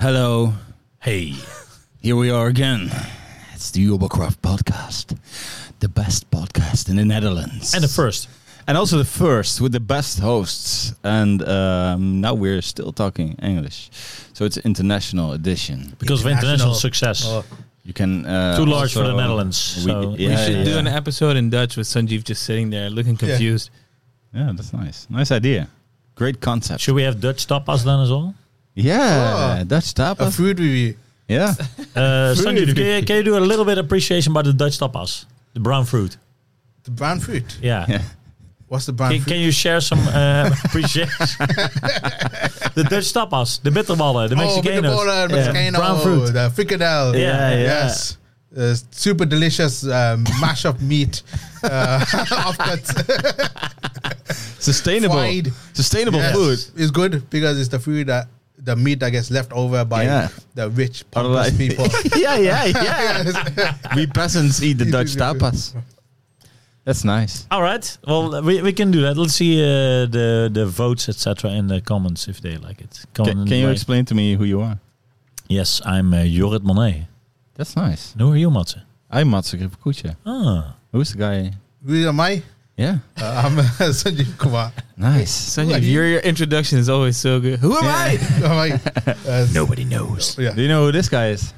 Hello. Hey, Here we are again. It's the Ubercraft podcast, the best podcast in the Netherlands. and the first. And also the first with the best hosts. And um, now we're still talking English. So it's international edition. Because of international success. Oh, You can. Uh, Too large for the also- Netherlands. We, so- yeah, we should yeah. do an episode in Dutch with Sanjeev just sitting there looking Yeah. confused. Yeah, that's nice. Nice idea. Great concept. Should we have Dutch tapas then as well? Yeah, Dutch A tapas. food review. Yeah. Uh, Fruit. Sanjeev, can, you- can you do a little bit appreciation about the Dutch tapas? The brown fruit. The brown fruit. Yeah. Yeah. What's the brown Can, fruit? can you share some uh, appreciation? the Dutch tapas, the bitterballen, the oh, with the Mexicanos. baller, Mexicano, Brown fruit. the fricadelle. Yeah, yeah. Yes. Uh, super delicious um, mash of meat. Uh, offcuts. Sustainable. Fried. Sustainable Yes. food. It's good because it's the food that the meat that gets left over by Yeah. the rich pompous Otherwise- people. yeah, yeah, yeah. we peasants eat the You Dutch do the- tapas. That's nice. All right. Well, we, we can do that. Let's see uh, the the votes, etc., in the comments if they like it. Come Can, on, can you like- explain to me who you are? Yes, I'm uh, Jorrit Monet. That's nice. And who are you, Matze? I'm Matsu Kripakucha. Ah, Who's the guy? Who am I? Yeah. Uh, I'm uh, Sanjeev Kumar. Nice. Sanjeev, your, your introduction is always so good. Who am I? Who am I? Uh, nobody knows. Yeah. Do you know who this guy is?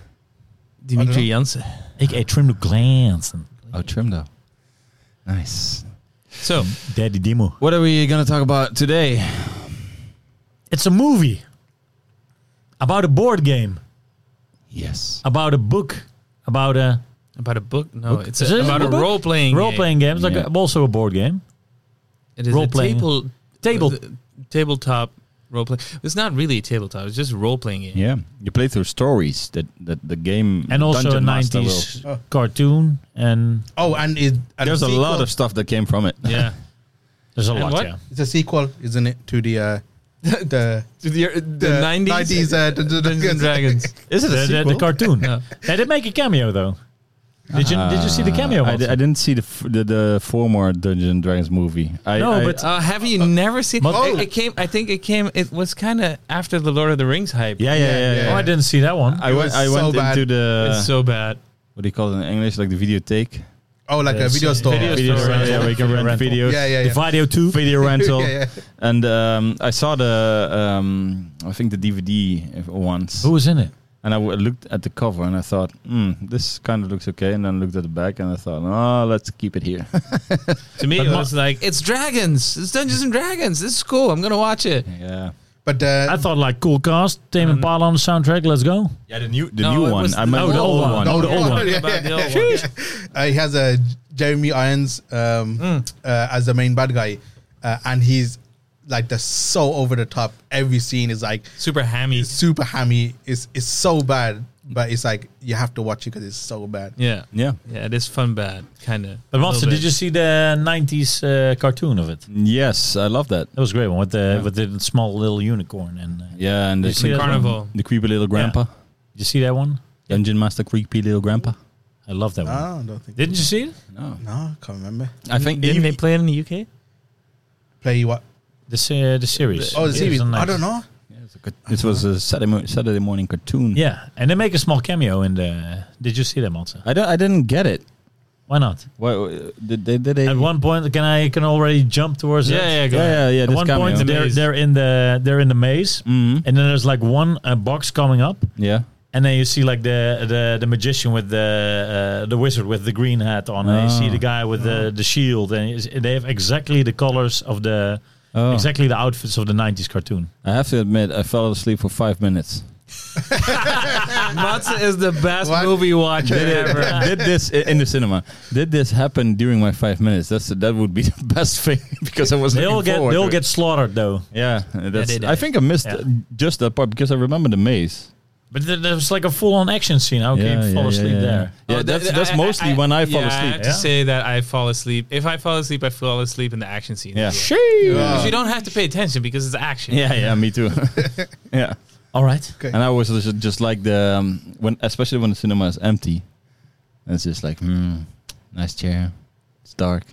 Dimitri Janssen. Ik eet trim de glanzen. Oh, Trimdo. Nice. So, Daddy Dimo. What are we going to talk about today? It's a movie about a board game, Yes. about a book, about a about a book? No, Book? it's Is a, it about a a book? role playing role playing game. It's like Yeah. a, also a board game. It is a role-playing. table, Table. the- tabletop role play. It's not really a tabletop, it's just a role playing game. Yeah. You play through stories that, that the game. and also a Dungeon Master will- Oh. 90s cartoon. And Oh, and it, and There's a lot sequel- of stuff that came from it. Yeah. there's a And lot, what? yeah. It's a sequel, isn't it, to the uh, the The, the, The 90s, 90s, uh, Dungeons Dungeons and Dragons. Dragons. Is it The, a the, sequel? the cartoon. Yeah. They did make a cameo, though. Did you, did you see the cameo? Uh, I, di- Matze? I didn't see the, f- the the former Dungeons and Dragons movie. I, No, I- but- Uh, have you never seen? But- it, it came. I think it came. It was kind of after the Lord of the Rings hype. yeah, yeah, yeah, Yeah, yeah, yeah. Oh, I didn't see that one. I uh, went, was I so went bad. into the it's so bad. what do you call it in English, like the videotheque. oh, like a Yes, video yeah. store. Video Video store rental, rental. yeah, we can Video rent rental. videos. Yeah, yeah, the yeah. video too. Video rental, yeah, yeah. and um, I saw the um, I think the DVD once, Who was in it? and I w- looked at the cover and I thought, hmm, this kind of looks okay, and then looked at the back and I thought, oh, let's keep it here. To me, But it mo- was like it's dragons. It's Dungeons and Dragons. This is cool. I'm gonna watch it. yeah, But uh, I thought like cool cast, Tame Mm-hmm. Impala on the soundtrack. Let's go. yeah, the new the No, it new one. was I the meant old the old one. one. No, the Yeah, old yeah, one. yeah, About the yeah. old one. Jeez. Uh, he has a Jeremy Irons um, uh, as the main bad guy, uh, and he's like the so over the top. Every scene is like Super hammy. super hammy. It's it's so bad, but it's like you have to watch it because it's so bad. Yeah. Yeah, Yeah. It is fun bad. Kind of. But Monster, did you see the '90s uh, cartoon of it? yes, I love that. That was a great one with the with the small little unicorn. And uh, Yeah, and the, see that Carnival. the creepy little grandpa, did you see that one? Dungeon Master, creepy little grandpa. I love that one. Ah, I don't think. Didn't you see it? No, no, I can't remember. I think Didn't they play it in the UK? Play what? The se- the series. Oh, the Yeah, series. it's on I Netflix. don't know. It was a Saturday, mo- Saturday morning cartoon. Yeah, and they make a small cameo in the. Did you see that, Monster? I don't. I didn't get it. Why not? Why did they? Did they At one point, can I can already jump towards Yeah, it? yeah, go yeah, yeah, yeah. At this one cameo. point, they're Maze. they're in the they're in the maze, Mhm. and then there's like one uh, box coming up, yeah, And then you see like the the, the magician with the uh, the wizard with the green hat on, and you see Ah. the guy with the, the shield, and you see- they have exactly the colors of the Oh. exactly the outfits of the '90s cartoon. I have to admit, I fell asleep for five minutes. Matze is the best What? movie watcher ever. did this i- in the cinema? Did this happen during my five minutes? That's that would be the best thing because I was. They looking all get forward they all to it. get slaughtered though, Yeah, that's, they did. I think I missed Yeah. just that part because I remember the maze. but there, there was like a full on action scene. How Yeah, can you fall yeah, asleep yeah, yeah. there? Yeah, Oh, that's th- that's mostly when I fall yeah, I have asleep. to Yeah. say that I fall asleep. If I fall asleep, I fall asleep in the action scene. Yeah. Uh, Because you don't have to pay attention because it's action. Yeah, yeah, me too. yeah. All right, Okay. And I was just, just like the um, when, especially when the cinema is empty, and it's just like, hmm, nice chair, it's dark.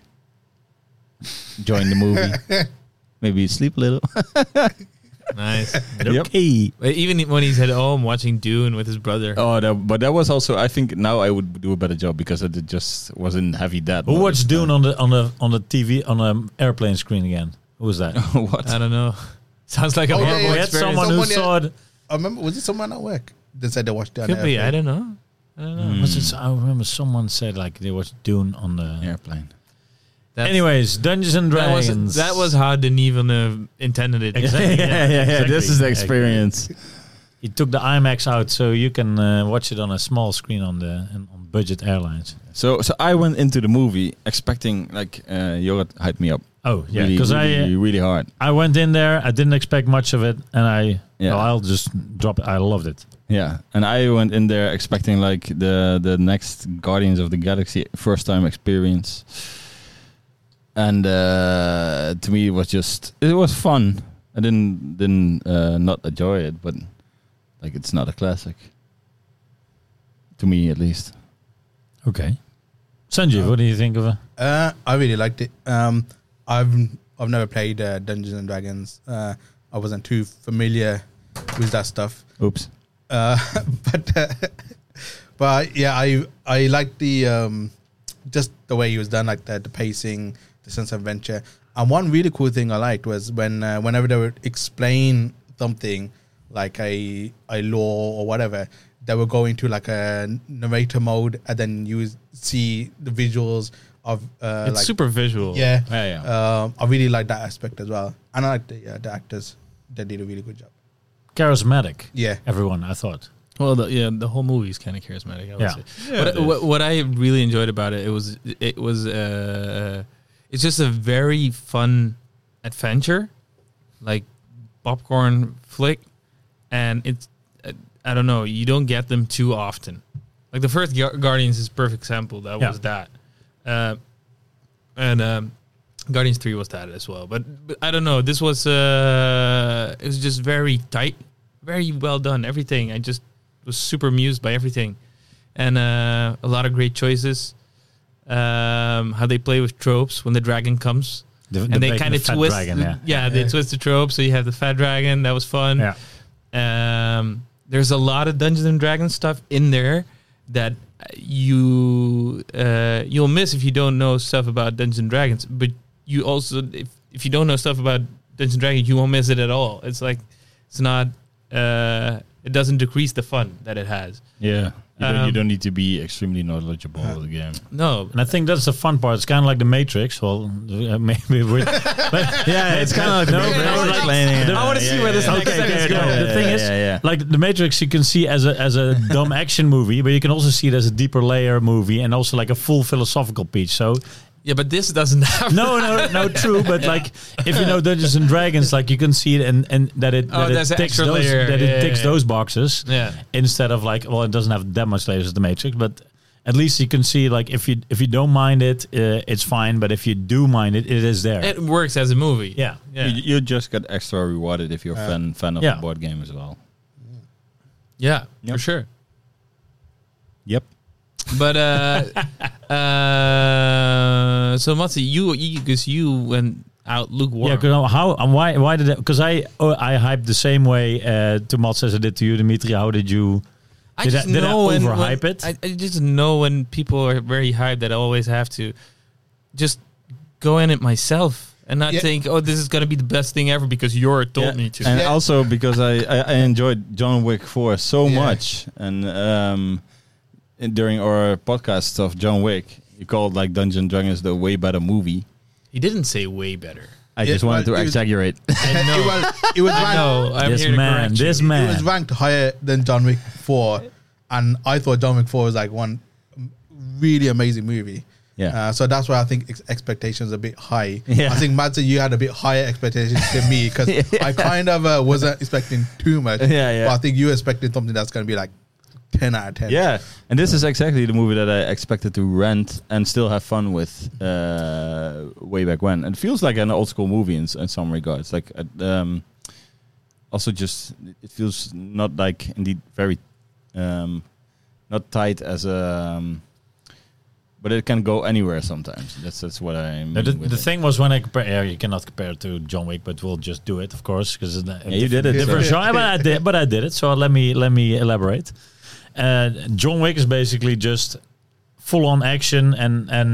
Join the movie, maybe you sleep a little. nice. Yep. Okay. Even when he's at home watching Dune with his brother. Oh, that, but that was also. I think now I would do a better job because I did just was in heavy debt. Who watched Dune on the on the on the TV on an airplane screen again? Who was that? what? I don't know. Sounds like a Oh, yeah, horrible yeah, we had experience. someone who Someone, yeah. saw it. I remember was it someone at work that said they watched it? Could be. I don't know. Hmm. I don't know. Was it, I remember someone said like they watched Dune on the. Airplane. That's- Anyways, Dungeons and that Dragons. was that was how Denis Villeneuve uh, intended it. Exactly. yeah, yeah, yeah. This exactly. is the experience. He took the IMAX out, so you can uh, watch it on a small screen on the on on budget airlines. So, so I went into the movie expecting like uh, Jorrit hyped me up. Oh yeah, really, because really, I really hard. I went in there, I didn't expect much of it, and I Yeah. well, I'll just drop it. I loved it. Yeah, and I went in there expecting like the the next Guardians of the Galaxy first time experience, and uh, to me it was just it was fun. I didn't didn't uh, not enjoy it, but like it's not a classic to me at least. Okay, Sanjeev, what do you think of it? Uh, I really liked it. Um, I've I've never played uh, Dungeons and Dragons. Uh, I wasn't too familiar with that stuff. Oops. Uh, but uh, but yeah, I I liked the um, just the way it was done, like the, the pacing, the sense of adventure. And one really cool thing I liked was when uh, whenever they would explain something like a a law or whatever, they would go into like a narrator mode, and then you would see the visuals of uh, It's like super visual. yeah. Yeah, yeah. Um, I really like that aspect as well, and I like the, yeah, the actors. They did a really good job. Charismatic, Yeah. everyone. I thought. Well, the, yeah, the whole movie is kind of charismatic. I would Yeah. say. Yeah, what, it what, what I really enjoyed about it, it was it was uh, it's just a very fun adventure, like popcorn flick, and it's uh, I don't know, you don't get them too often. Like the first Gu- Guardians is a perfect example. That Yeah. was that, uh, and um, Guardians Three was that as well. But, but I don't know. This was uh, it was just very tight, very well done. Everything. I just was super amused by everything, and uh, a lot of great choices. Um, how they play with tropes when the dragon comes, The- the and they big- kind the of fat twist. dragon, yeah. yeah. they twist the trope. So you have the fat dragon. That was fun. Yeah, Um, there's a lot of Dungeons and Dragons stuff in there that you uh, you'll miss if you don't know stuff about Dungeons and Dragons. But you also if if you don't know stuff about Dungeons and Dragons, you won't miss it at all. It's like it's not uh, it doesn't decrease the fun that it has. Yeah. You don't, Um, you don't need to be extremely knowledgeable of the game. No, and I think that's the fun part. It's kind of like the Matrix. Well, uh, maybe we're. but yeah, it's kind of like the No, Matrix. no, I like- wanna- I wanna yeah, see yeah, where this yeah. next Okay, segment's okay, going. okay. The thing Yeah, is, yeah, yeah. like the Matrix, you can see as a as a dumb action movie, but you can also see it as a deeper layer movie and also like a full philosophical piece. So Yeah, but this doesn't have. no, no, no, true. But like, if you know Dungeons and Dragons, like you can see it and and that it Oh, that it there's an ticks extra those layer. that Yeah, it ticks yeah, those boxes Yeah. instead of like well, it doesn't have that much layers as the Matrix, but. At least you can see, like, if you if you don't mind it, uh, it's fine. But if you do mind it, it is there. It works as a movie. yeah, Yeah. You, you just get extra rewarded if you're a fan fan of Yeah. the board game as well. Yeah, Yep. for sure. Yep. But uh, uh, so Matsi, you because you, went out lukewarm. Yeah, 'cause now how and why why did because I oh, I hyped the same way uh, to Mats as I did to you, Dimitri. How did you? I did just I- did I know when, overhype when- it? I, I just know when people are very hyped that I always have to just go in it myself and not Yeah. think, oh, this is gonna be the best thing ever because Yor told me to. And Yeah. also because I, I, I enjoyed John Wick 4 so Yeah. much. And um, in- during our podcast of John Wick, you called like Dungeon and Dragons the way better movie. he didn't say way better. I Yeah, just wanted well, to it was- exaggerate. it was it was ranked, No, I'm this here to man, correct you. this it was man. ranked higher than John Wick four, and I thought John Wick four was like one really amazing movie. Yeah. Uh, so that's why I think ex- expectations are a bit high. Yeah. I think Madsen, you had a bit higher expectations than me because I kind of uh, wasn't expecting too much. Yeah, yeah. But I think you expected something that's going to be like ten out of ten. yeah. And this is exactly the movie that I expected to rent and still have fun with uh, way back when. It feels like an old school movie in, s- in some regards. Like, uh, um, also just it feels not like indeed very um, not tight as a um, but it can go anywhere sometimes. That's that's what I mean. No, the, with the it. thing was when I compare, yeah, you cannot compare it to John Wick, but we'll just do it, uh, of course, because Yeah, you did it, Different so- genre, but I did, but I did it. So let me let me elaborate. Uh, John Wick is basically just full on action and and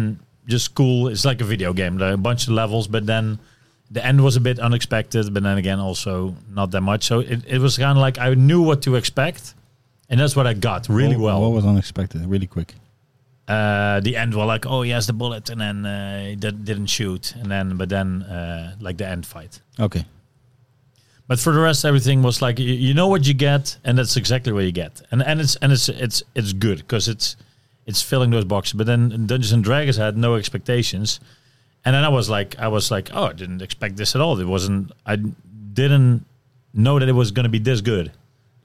just cool. It's like a video game, there are a bunch of levels, but then the end was a bit unexpected, but then again also not that much. So it, it was kind of like I knew what to expect, and that's what I got really What- well Oh, What was unexpected? Really quick. uh, the end were like, oh, he has the bullet, and then uh, he did, didn't shoot, and then but then uh, like the end fight. Okay. But for the rest, everything was like you, you know what you get, and that's exactly what you get, and and it's and it's it's it's good because it's it's filling those boxes. But then Dungeons and Dragons I had no expectations, and then I was like I was like oh I didn't expect this at all. It wasn't I didn't know that it was going to be this good.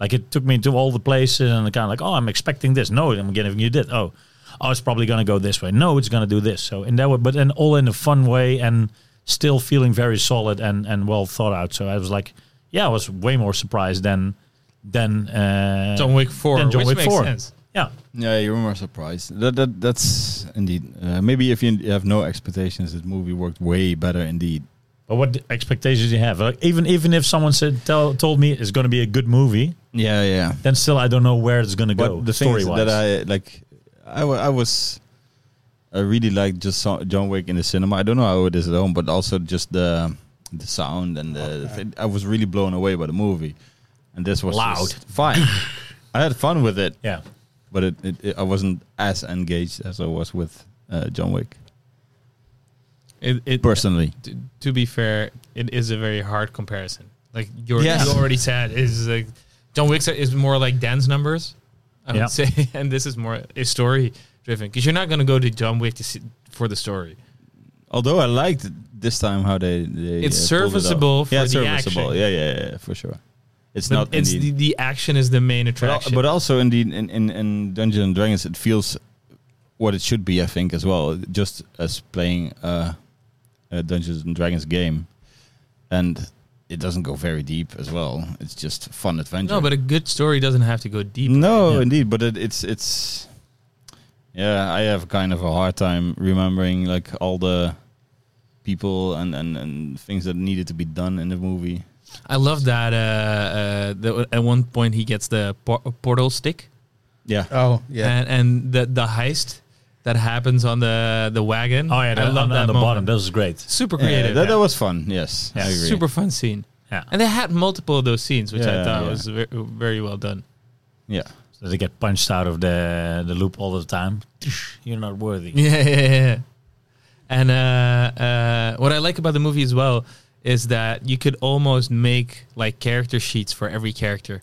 Like it took me to all the places and kind of like oh I'm expecting this. No, I'm giving you this. Oh, oh it's probably going to go this way. No, it's going to do this. So in that way, but then all in a fun way and still feeling very solid and and well thought out. So I was like yeah I was way more surprised than than uh, John Wick 4, Then John which Wick makes 4. sense. yeah. Yeah, you were more surprised. That that that's indeed. Uh, maybe if you have no expectations, this movie worked way better indeed. But what expectations do you have? Like even even if someone said tell, told me it's going to be a good movie, Yeah, yeah. then still I don't know where it's going to But go. the thing story is wise, that I like, I wa- I was, I really liked just saw John Wick in the cinema. I don't know how it is at home, but also just the the sound and the. thi- I was really blown away by the movie, and this was Loud. just fine. I had fun with it, yeah, but it, it, it I wasn't as engaged as I was with uh, John Wick It, it, personally. t- to be fair, it is a very hard comparison. Like you're, Yes. you already said, is like John Wick is more like Dan's numbers, I Yeah. would say, and this is more a story driven because you're not going to go to John Wick to see, for the story. Although I liked this time how they, they uh, It's pulled it off. serviceable for yeah, the serviceable. action. Yeah, yeah, yeah, for sure. It's But not it's indeed- the, the action is the main But, al- attraction. but uh, also in the in, in, in Dungeons and Dragons, it feels what it should be, I think, as well. Just as playing uh, a Dungeons and Dragons game, and it doesn't go very deep as well. It's just fun adventure. no, but a good story doesn't have to go deep. no, Yeah. indeed. But it, it's it's yeah. I have kind of a hard time remembering like all the people and and, and things that needed to be done in the movie. I love that. Uh, uh, that at one point he gets the por- portal stick, Yeah, Uh, Oh yeah. and, and the the heist that happens on the the wagon. oh yeah, I love on, that on the moment. bottom. That was great. Super Yeah, creative. that, Yeah. that was fun. Yes, I agree. super fun scene. Yeah, And they had multiple of those scenes, which I Yeah, thought yeah. was very, very well done. Yeah. so they get punched out of the the loop all the time. You're not worthy. Yeah, yeah, yeah, yeah. And uh, uh, what I like about the movie as well is that you could almost make like character sheets for every character.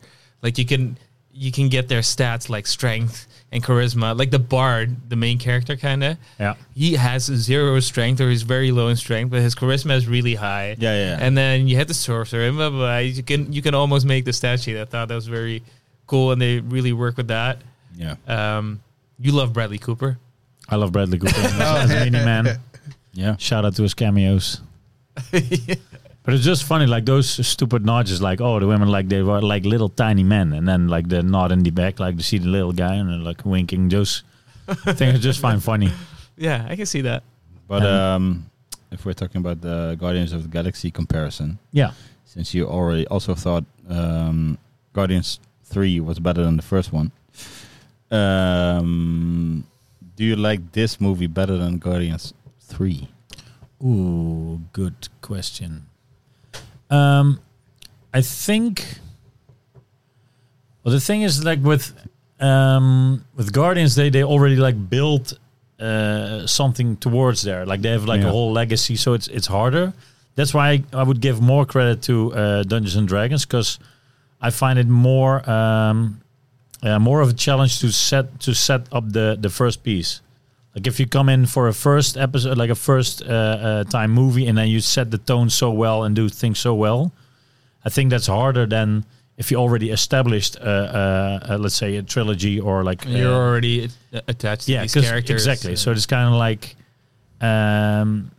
Like you can you can get their stats like strength and charisma. Like the bard, the main character, kind of. Yeah. He has zero strength or he's very low in strength, but his charisma is really high. Yeah, yeah, yeah. And then you had the sorcerer and blah blah. blah. You can you can almost make the stat sheet. I thought that was very cool, and they really work with that. Yeah. Um, you love Bradley Cooper. I love Bradley Cooper Oh, as Mini Man. Yeah. Shout out to his cameos. But it's just funny, like those stupid nodges, like oh, the women like they were like little tiny men, and then like the nod in the back, like they see the little guy and they're like winking. Those things I just find funny. Yeah, I can see that. But Um, um, if we're talking about the Guardians of the Galaxy comparison, Yeah, since you already also thought um, Guardians Three was better than the first one, um, do you like this movie better than Guardians Three? Ooh, good question. Um, I think. Well, the thing is, like with um, with Guardians, they they already like built uh, something towards there. Like they have like Yeah. a whole legacy, so it's it's harder. That's why I, I would give more credit to uh, Dungeons and Dragons because I find it more um, uh, more of a challenge to set to set up the the first piece. Like if you come in for a first episode, like a first uh, uh, time movie, and then you set the tone so well and do things so well, I think that's harder than if you already established, uh, uh, uh, let's say, a trilogy or like You're uh, already uh, attached to yeah, these 'cause- characters. exactly. So it's kind of like, um,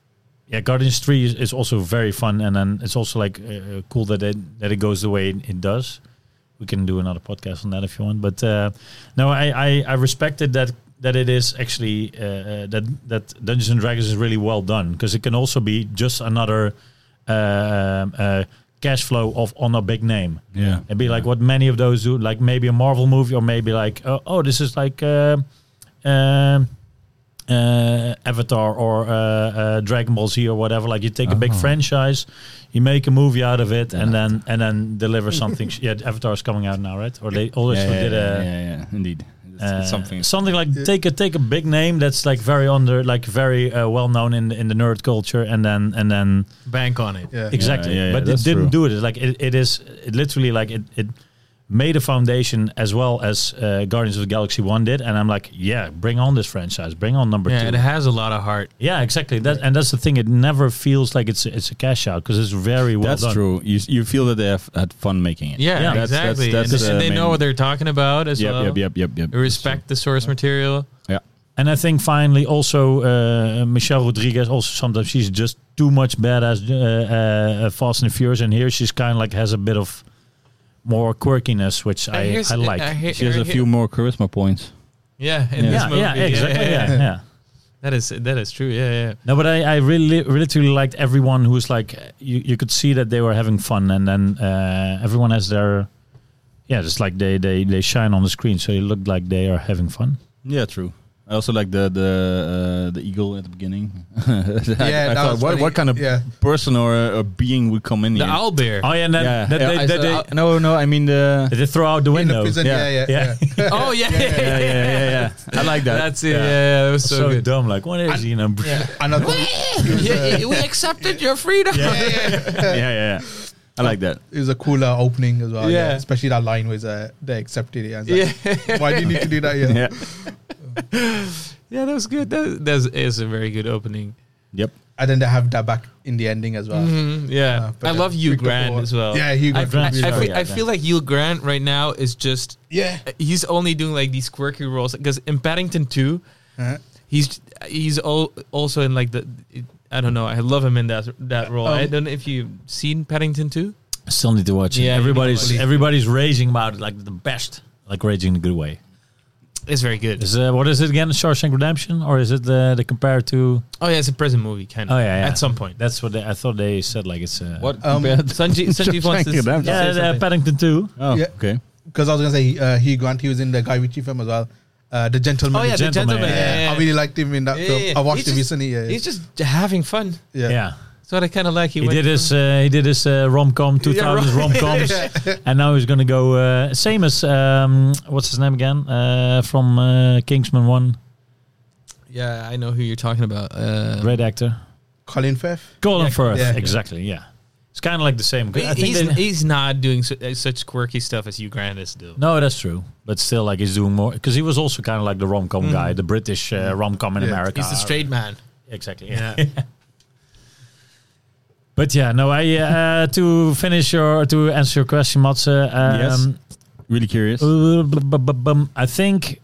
yeah, Guardians Three is, is also very fun, and then it's also like uh, cool that it that it goes the way it, it does. We can do another podcast on that if you want, but uh, no, I, I I respected that that it is actually uh, uh, that that Dungeons and Dragons is really well done because it can also be just another uh, um, uh, cash flow of on a big name Yeah. and be like what many of those do, like maybe a Marvel movie or maybe like oh, oh this is like uh, um uh, Avatar or uh, uh, Dragon Ball Z or whatever. Like you take a big Oh. franchise, you make a movie out of it, and Yeah. then and then deliver something. yeah, Avatar is coming out now, right? Or they always yeah, did a. yeah, yeah, yeah, indeed. It's, Uh, it's something. something like Yeah. take a take a big name that's like very under like very uh, well known in in the nerd culture and then and then Bank on it. Yeah. exactly yeah, yeah, but that's it didn't true. do it It's like it, it is it literally like it, it made a foundation as well as uh, Guardians of the Galaxy 1 did and I'm like yeah bring on this franchise bring on number 2 Yeah, it has a lot of heart. yeah exactly that and that's the thing it never feels like it's it's a cash out because it's very well That's done true. You s- you feel that they have had fun making it. Yeah, Yeah. That's- that's- exactly. that's and, the and they know main- what they're talking about as Yep, well. yep, yep, yep, yep. They Respect the source material. Yeah. And I think finally, also uh, Michelle Rodriguez. Also, sometimes she's just too much badass. Uh, uh, Fast and Furious, and here she's kind of like has a bit of more quirkiness, which And I, here's- uh, I like. I hear- She has a hear- few more charisma points. Yeah, in Yeah. this yeah, movie. yeah, exactly. Yeah, yeah. That is that is true. Yeah, yeah. No, but I, I really, really, truly liked everyone who's like you. You could see that they were having fun, and then uh, everyone has their, yeah, just like they they they shine on the screen, so it looked like they are having fun. Yeah, true. I also like the the uh, the eagle at the beginning. I, Yeah, I that thought, was what, funny. what kind of Yeah. person or uh, or being would come in The here? owl bear. Oh yeah, and then yeah, that yeah, I they, said, that they, uh, no, no, I mean the. that they throw out the In the window. prison. Yeah. Yeah, yeah, yeah. yeah. Oh, yeah, yeah, yeah, yeah, yeah, yeah, yeah. I like that. That's it. Yeah, yeah, that was so, so, good. dumb. Like, what is he? You know, Another. Yeah, yeah, we accepted your freedom. yeah, yeah. yeah, yeah, yeah. I like that. It was a cooler opening as well. Yeah. Yeah. Especially that line was uh, they accepted it. I was like, Why do you need to do that? Yeah. Yeah. Yeah, that was good. That, that is a very good opening. Yep. And then they have that back in the ending as well. Mm-hmm. Mhm, Uh, yeah, but I then love Hugh picked up the Grant ball. as well. Yeah, Hugh I- Grant. Grant, I, sorry, I, feel, yeah, I feel Grant. like Hugh Grant right now is just Yeah. he's only doing like these quirky roles because in Paddington Two, Uh-huh. he's he's al- also in like the I don't know. I love him in that that role. I Um, don't know if you've seen Paddington Two. still need to watch it. Yeah, you need everybody's to watch it. everybody's raging about it, like the best, like raging in a good way. It's very good. Is uh, what is it again? Shawshank Redemption, or is it the the compare to? Oh yeah, it's a prison movie kind of. Oh yeah, yeah. At some point, That's what they, I thought they said. Like it's uh, What? Um, compared- Sanjeev Sanjeev wants Shawshank to. Redemption. Yeah, say uh, something. Paddington Two. Oh, Yeah. okay. Because I was gonna say uh, Hugh Grant. He was in the Guy Ritchie film as well. Uh, the Gentleman. Oh yeah, the Gentleman, gentleman. yeah. yeah, I yeah. really liked him in that Yeah, film. yeah, yeah. I watched He's him just- recently. Yeah, He's just having fun. yeah. Yeah. That's what I kind of like. he went did from- his uh, he did his uh, rom com two thousands right. rom coms, and now he's gonna go uh, same as um, what's his name again uh, from uh, Kingsman One, Yeah, I know who you're talking about. Uh, great actor Colin Firth. Colin Firth. yeah. Exactly, yeah. It's kind of like the same. But I think he's, they- he's not doing su- uh, such quirky stuff as Hugh Grant is doing. No, that's true. But still, like he's doing more because he was also kind of like the rom com Mhm. guy, the British uh, rom com in Yeah. America. He's the straight man. exactly. Yeah. but yeah, no. I uh, to finish your to answer your question, Mats. Uh, um, Yes. Really curious. um, I think.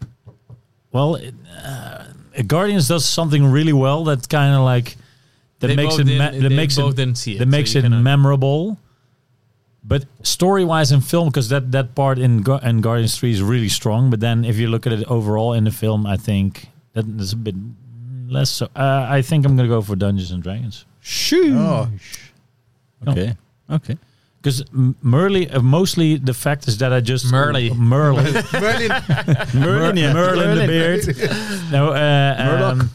Well, it, uh, Guardians does something really well that kind of like that They makes both it ma- didn't- that they makes both it didn't see it. that so makes you it cannot- memorable. But story wise in film, because that, that part in, Gu- in Guardians 3 is really strong. But then if you look at it overall in the film, I think that is a bit less so. Uh, I think I'm going to go for Dungeons and Dragons. Oh, Okay. Okay. Because Merly, uh, mostly the fact is that I just. Merly. Merly. Merlin. Merlin, Merlin the beard. no, uh, um,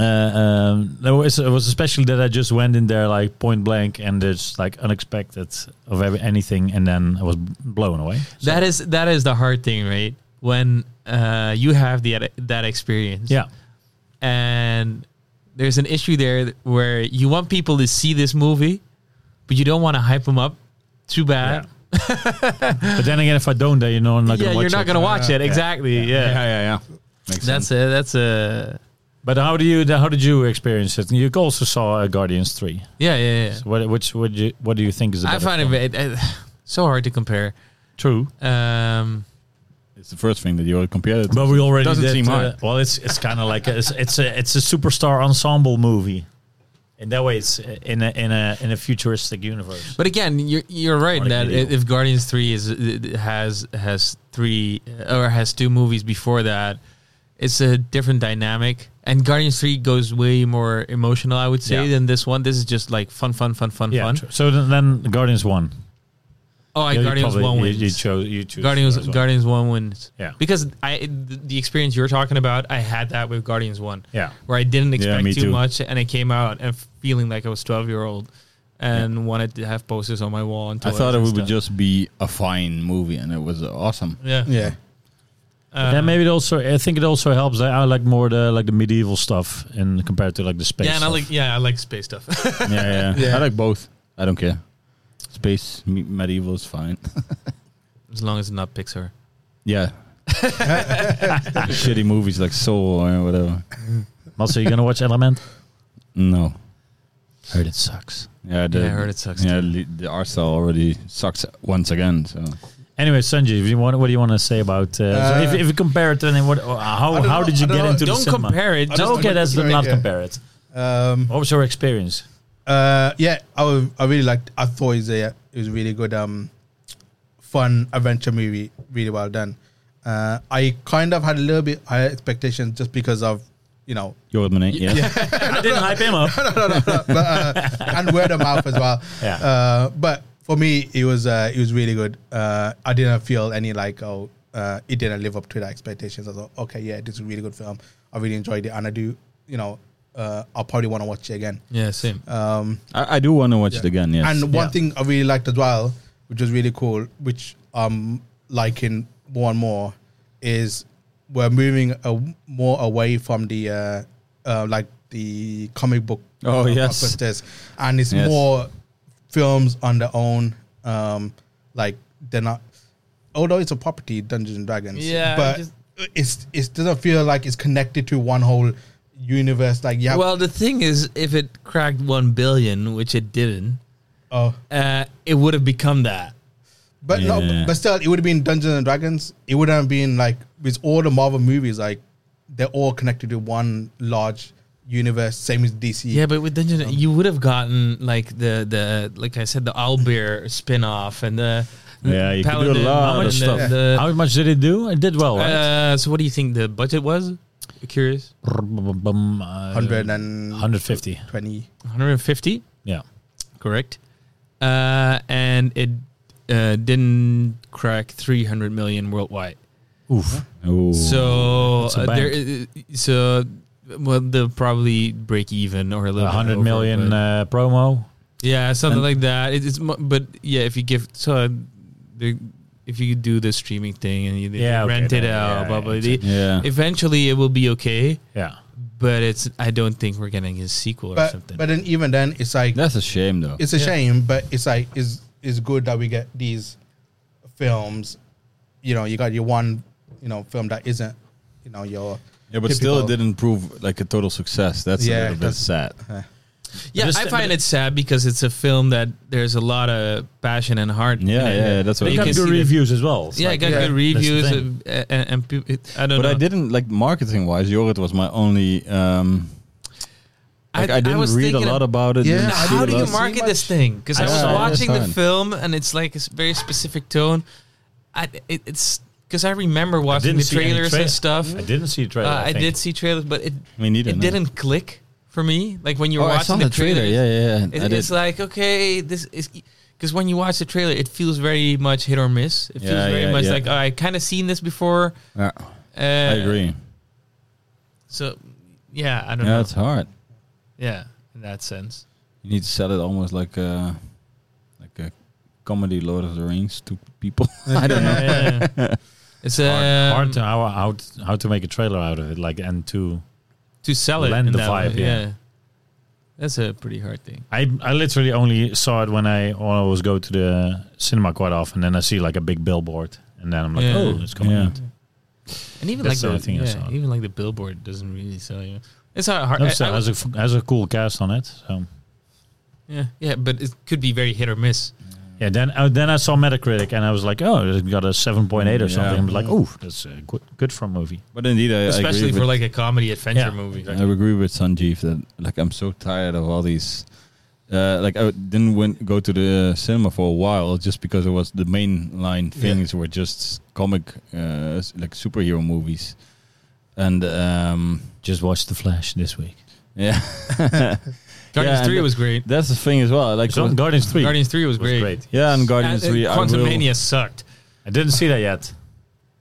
uh, um, there was, it was especially that I just went in there like point blank and it's like unexpected of ev- anything, and then I was b- blown away. So, That is that is the hard thing, right? When uh, you have the that experience, yeah, and there's an issue there where you want people to see this movie, but you don't want to hype them up too bad. but then again, if I don't, then you know I'm not Yeah, gonna watch you're not it. gonna watch it. Yeah. Exactly. Yeah, Yeah, yeah, yeah. Makes that's a that's a But how do you? How did you experience it? You also saw uh, Guardians three. yeah yeah. yeah. So what? Which? Would you? What do you think is? The I better find film? it, it, so hard to compare. true, Um, It's the first thing that you would compare it. to. but we already Doesn't did, seem uh, hard. well, it's it's kind of like a, it's, it's a it's a superstar ensemble movie. In that way, it's uh, in a in a in a futuristic universe. But again, you're you're right Like that medieval. if Guardians Three is has has three or has two movies before that, It's a different dynamic, and Guardians Three goes way more emotional, I would say, Yeah. than this one. This is just like fun, fun, fun, fun, Yeah. fun. true. So then, then Guardians won. Oh, I Yeah, you Guardians probably- one you- wins. You, chose. You choose Guardians as well. Guardians one wins. Yeah. because I th- the experience you're talking about, I had that with Guardians one. Yeah. where I didn't expect me too, too. much, and I came out and feeling like I was twelve year old, and wanted to have posters on my wall. And I thought it toys and would be stuff. just be a fine movie, and it was awesome. yeah. Yeah. Uh, yeah, maybe it also. I think it also helps. I, I like more the like the medieval stuff in compared to like the space. yeah, and I stuff. like yeah, I like space stuff. yeah, yeah, Yeah. I like both. I don't care. Space me- medieval is fine. as long as it's not Pixar. yeah. Shitty movies like Soul or whatever. Also, you gonna watch Element? No. Heard it sucks. Yeah, the, Yeah, I heard it sucks Yeah, le- the art style already sucks once again. So Anyway, Sanjay, if you want, what do you want to say about? Uh, so if, if you compare it, then what? uh, How I don't how know- did you I don't get know. into the Don't cinema? compare it. I Just don't okay, that's Sorry, not yeah. compare it. Um, What was your experience? uh, yeah, I, was, I really liked. I thought it was a it was a really good, um, fun adventure movie. Really well done. Uh, I kind of had a little bit higher expectations just because of you know Jordan Monet, yeah. I didn't hype him up. but, uh, and word of mouth as well. Yeah. Uh, but for me, it was uh, it was really good. Uh, I didn't feel any like oh, uh, it didn't live up to the expectations. I thought, okay, yeah, this is a really good film. I really enjoyed it, and I do, you know, uh, I'll probably want to watch it again. Yeah, same. Um, I, I do want to watch it again. Yes, and one Yeah. thing I really liked as well, which was really cool, which I'm liking more and more, is we're moving a, more away from the uh, uh, like the comic book Oh, uh, yes. blockbusters, and it's Yes. more films on their own. Um, like they're not, although it's a property, Dungeons and Dragons. Yeah, I but just- it's it doesn't feel like it's connected to one whole universe. Like Uh, yeah, Well, the thing is, if it cracked one billion, which it didn't, oh. uh, it would have become that. But Yeah. no, but still, it would have been Dungeons and Dragons. It would have been like with all the Marvel movies, like they're all connected to one large universe. Same as DC. Yeah, but with Dungeon, you would have gotten like the the like I said, the Owlbear spin off and the Yeah, you could do a Paladin lot and of the- stuff. the- How much did it do? It did well, right? uh, so, what do you think the budget was? Curious, Uh, hundred and 150. twenty. 150, Yeah. correct? Uh, and it uh, didn't crack 300 million worldwide. Oof. Ooh. So It's a uh, there, i- so well, they'll probably break even or a little. bit 100 over, million but- uh, promo. yeah, something and- like that. It, it's mo- but yeah, if you give so, the, if you do the streaming thing and you Yeah, okay, rent it then, out, yeah, blah blah. yeah, blah, yeah, Eventually, it will be okay, Yeah. but it's. I don't think we're getting a sequel or But something. but then even then, it's like that's a shame though. it's a Yeah. shame. But it's like is is good that we get these films. You know, you got your one, you know, film that isn't, you know, your yeah, but still, it typical- didn't prove like a total success. That's Yeah, a little bit that's- sad. yeah, Just- I find it sad because it's a film that there's a lot of passion and heart. in Yeah, it. yeah, that's what. They I you got mean. can good see that- reviews as well. It's yeah, like- it got good that's the reviews, thing. uh, and, and people. It, I don't But know. I didn't like marketing wise. Yorit was my only. Um, like, I, didn't was read a thinking lot about it. Yeah, didn't I see how a do you lot. market this much. thing? Because I Yeah, was yeah, watching the fine. film and it's like a s- very specific tone. I it, it's because I remember watching didn't the see any trailers trailer. and stuff. I didn't see the Uh, trailer. I, I, think. did see trailers, but it Me neither. it no. didn't click for me. Like when you Oh, were I watching saw the trailer. trailers, Yeah, yeah, yeah. it- I did. it's like okay, this is. Because when you watch the trailer, it feels very much hit or miss. It feels Yeah, very yeah, much yeah. like oh, I kind of seen this before. Yeah, Uh, I agree. So, yeah, I don't Yeah, know. it's hard. Yeah, in that sense. You need to sell it almost like a like a comedy Lord of the Rings to people. I don't know. Yeah, yeah, yeah. It's hard, hard to um, how, how to- how to make a trailer out of it, like and to to sell it. Lend in the that vibe, way, yeah. That's a pretty hard thing. I I literally only saw it when I always go to the cinema quite often, and I see like a big billboard, and then I'm like, Yeah. oh, it's coming Yeah. out. And even That's the like only the, thing I yeah, saw. even like the billboard doesn't really sell you. It's hard. hard No, I- still I- uh, has a f- has a cool cast on it. So yeah, yeah, but it could be very hit or miss. yeah, then uh, then I saw Metacritic, and I was like, oh, it got a seven point eight or Yeah. something. I'm like, oh, that's uh, good good for a movie. But indeed, I, I Especially agree for with, like a comedy adventure Yeah. movie. I agree with Sanjeev that like I'm so tired of all these. Uh, like I didn't went, go to the cinema for a while just because it was the mainline things were just comic, uh, s- like superhero movies, and um, Just watch The Flash this week. yeah, Guardians and Three the- was great. that's the thing as well. Like, It's on Guardians 3. Guardians Three was was great. great. yeah, and Guardians Uh, Three. I Quantum will, Mania sucked. I didn't see that yet.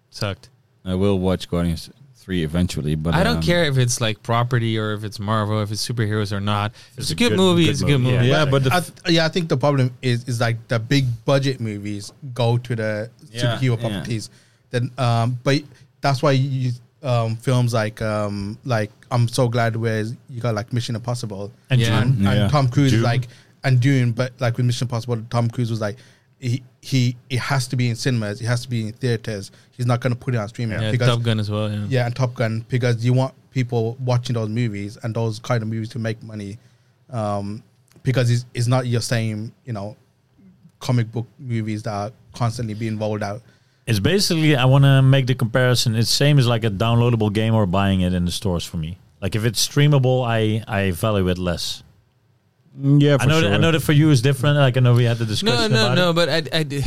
Sucked. I will watch Guardians Three eventually, but I don't um, care if it's like property or if it's Marvel, if it's superheroes or not. It's, a good, movie. it's a good movie. Yeah, but the I f- th- yeah, I think the problem is is like the big budget movies go to the Yeah, superhero yeah. properties. Then, um, but that's why you um, films like um, like I'm so glad where you got like Mission Impossible And Yeah. Dune. and, Yeah. and Tom Cruise Dune. is like and Dune, but like with Mission Impossible, Tom Cruise was like he he it has to be in cinemas, it has to be in theaters. He's not going to put it on streaming Yeah, because Top Gun as well. Yeah. yeah, and Top Gun because you want people watching those movies and those kind of movies to make money, um, because it's, it's not your same you know comic book movies that are constantly being rolled out. It's basically I want to make the comparison. It's same as like a downloadable game or buying it in the stores for me. Like if it's streamable, I I value it less. mm, yeah, for I know sure. that, I know that for you is different. Like I know we had the No, discussion no, about no. it. But I, I, d-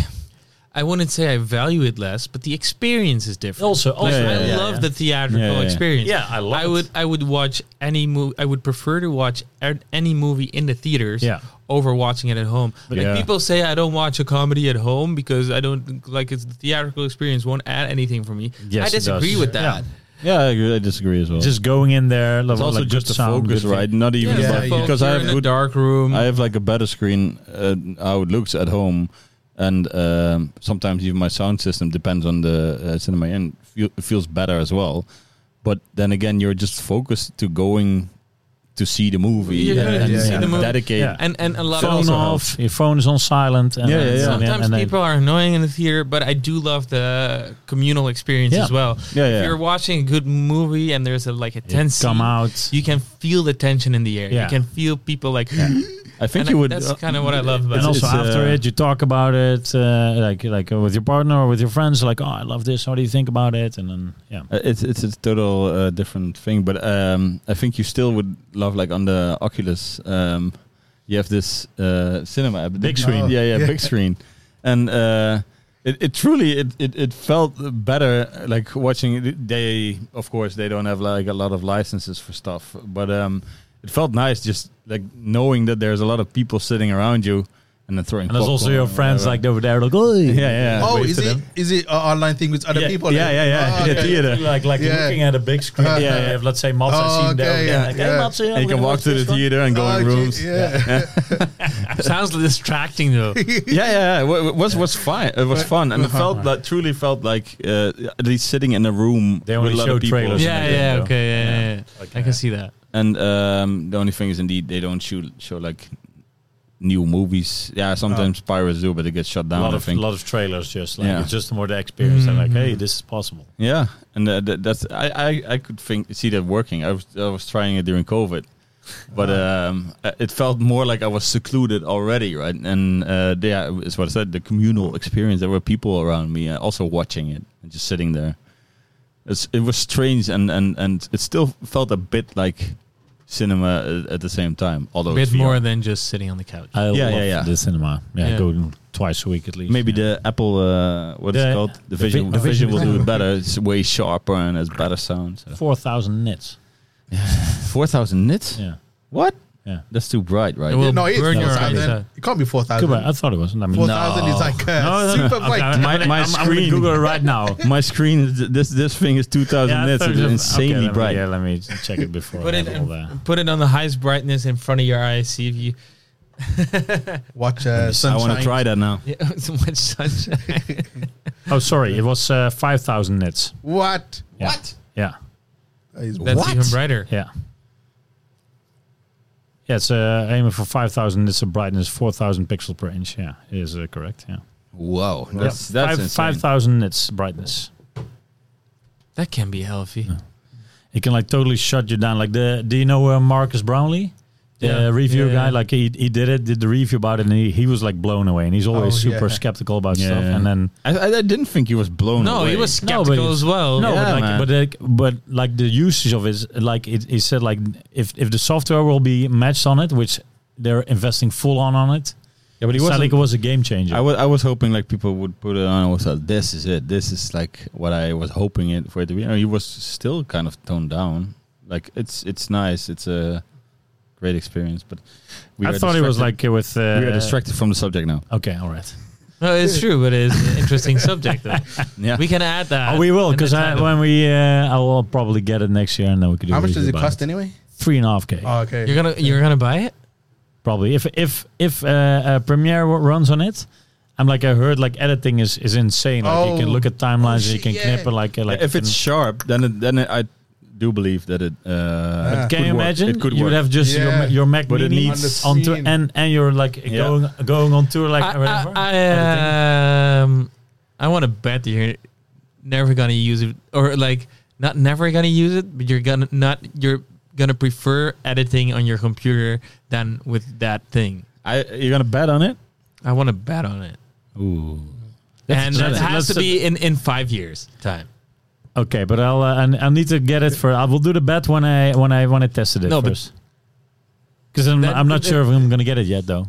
I wouldn't say I value it less, but the experience is different. Also- also- Like, Yeah, Oh, I yeah, love yeah. the theatrical Yeah, yeah, yeah. experience. Yeah, I love I it. would, I would watch any movie. I would prefer to watch a- any movie in the theaters. Yeah. Over watching it at home. Like Yeah. people say, I don't watch a comedy at home because I don't like it's the theatrical experience won't add anything for me. Yes, I it does. disagree with Yeah. that. yeah, I, agree, I disagree as well. Just going in there, like, it's also like just good the sound, focus, good thing. right? Not even Yeah, about- yeah. because I have a good dark room. I have like a better screen uh, how it looks at home, and um, sometimes even my sound system depends on the uh, cinema and feel, it feels better as well. But then again, you're just focused to going to see the movie You're and, gonna and, just see the movie. dedicate. Yeah. and and a lot of Phone also off. helps. Your phone is on silent. And Yeah, and- yeah, yeah. and- Sometimes and- and- people are annoying in the theater, but I do love the communal experience Yeah. as well. Yeah, yeah. If you're watching a good movie and there's a, like a tense scene, come out. you can feel the tension in the air. Yeah. You can feel people like. I think And you I- would. uh, that's kind of what I love about and it. it's, also after uh, it, you talk about it, uh, like like uh, with your partner or with your friends. Like, oh, I love this. How do you think about it? And then yeah, Uh, It's it's a total uh, different thing, but um, I think you still would love like on the Oculus. Um, you have this uh, cinema app, Big screen. yeah, yeah, Yeah. big screen, and uh, it, it truly it, it it felt better uh, like watching. it. They of course they don't have like a lot of licenses for stuff, but um, it felt nice just like knowing that there's a lot of people sitting around you and then throwing. and there's also popcorn your or friends whatever. like over there, like oh yeah, yeah. oh, wave is to it is them. it an online thing with other Yeah, people? yeah, yeah, yeah, Oh, in the okay. theater. Like like Yeah. looking at a big screen. Uh-huh. yeah, yeah. If, let's say Mats, I see him Okay, there. yeah, like, yeah. Hey, Mats, yeah, And you can we're gonna walk watch to the this one. Ah, theater and go Oh, in gee, rooms. Yeah. sounds distracting though. yeah, yeah, yeah. It was was fine. It was fun, Uh-huh. and it felt like truly felt like uh, at least sitting in a room They with only a lot show of people. trailers. yeah, Fascinating, yeah, though. okay, yeah, yeah, yeah. I can see that. And um, the only thing is, indeed, they don't show show like new movies. Yeah, sometimes pirates do, but it gets shut Oh. A down. lot I of think. lot of trailers, just like Yeah. it's just more the experience. And like, hey, this is possible. Yeah, and uh, that, that's I, I I could think see that working. I was I was trying it during COVID, but Uh-huh. um, uh, it felt more like I was secluded already, right? And uh, yeah, it's what I said. The communal experience. There were people around me, uh, also watching it and just sitting there. It's, it was strange, and and and it still felt a bit like cinema uh, at, at the same time. Although A bit it's VR. more than just sitting on the couch. I Yeah, love yeah, yeah. the cinema. Yeah, Yeah. go twice a week at least. Maybe yeah. the Apple, uh, what The- it's called, the the vi- vision, the vision Vision will is do better. it better. It's way sharper and has better sound. So. four thousand nits. Four thousand nits. Yeah, What? yeah. That's too bright, right? It will no, it's burn four your eyes thousand. out. It can't be four Good, I thousand. thought it was. I mean, Four thousand is like uh, No, no, super no. bright. Okay, I'm- My- I'm- my I'm- I'm gonna screen. Google it right now. My screen, is this this thing is two thousand Yeah, I nits. thought It's it was- okay, insanely let me- bright. Yeah, let me check it before. Put I it, have all that. in, put it on the highest brightness in front of your eyes. See if you Watch uh, I sunshine. want to try that now. yeah, so much sunshine. Oh, sorry, it was uh, five thousand nits. What? Yeah. Yeah, That is That's what? even brighter. yeah, yeah. It's uh, aiming for five thousand nits of brightness, four thousand pixel per inch. Yeah, is uh, correct. Yeah, Wow, that's Yeah. that's five five insane. thousand nits brightness. That can be healthy. It can like totally shut you down. Like the, do you know uh, Marcus Brownlee? The Yeah. review Yeah, guy, yeah. like he, he did it, did the review about it, and he, he was like blown away, and he's always Oh, yeah. super skeptical about Yeah, stuff. yeah. And then I, I, I didn't think he was blown. No, away. he was No, but skeptical it's- as well. No, Yeah, but, man. like, but like, but like the usage of it, is, like it, it said, like if if the software will be matched on it, which they're investing full on on it, Yeah, but he Salik wasn't. was a game changer. I was I was hoping like people would put it on. and Was like, this is it? This is like what I was hoping it for it to be. I mean, he was still kind of toned down. Like it's it's nice. It's a great experience. But we I are thought he was distracted- like uh, with. Uh, we are distracted from the subject now. Okay, all right. No, it's true, but it's an interesting subject. Though. Yeah, We can add that. oh, we will in the because title. when we, uh, I will probably get it next year, and then we can do. How a much review does it about cost anyway? Three and a half k. Oh, okay. you're gonna you're gonna buy it. probably if if if uh, uh, Premiere w- runs on it. I'm like I heard like editing is is insane. Like you can Oh. look at timelines, Oh, you can shit, knip yeah. it like uh, like. if it's sharp, then it, then it, I do believe that it. Uh, Yeah. could can you work. imagine? It could you would work. have just your Yeah. your, your Mac But it Mini needs- on Unseen. and and you're like Yeah. going going on tour like I, whatever. I, editing. I, um, I want to bet that you're never gonna use it, or like not never gonna use it, but you're gonna not you're gonna prefer editing on your computer than with that thing. I, you're gonna bet on it. I want to bet on it, Ooh, and that's- that has that's to a- be in in five years time. Okay, but I'll uh, and I need to get it for. I will do the bet when I when I when I tested it No, but- first. Because I'm, That- I'm not that- sure if I'm gonna get it yet though.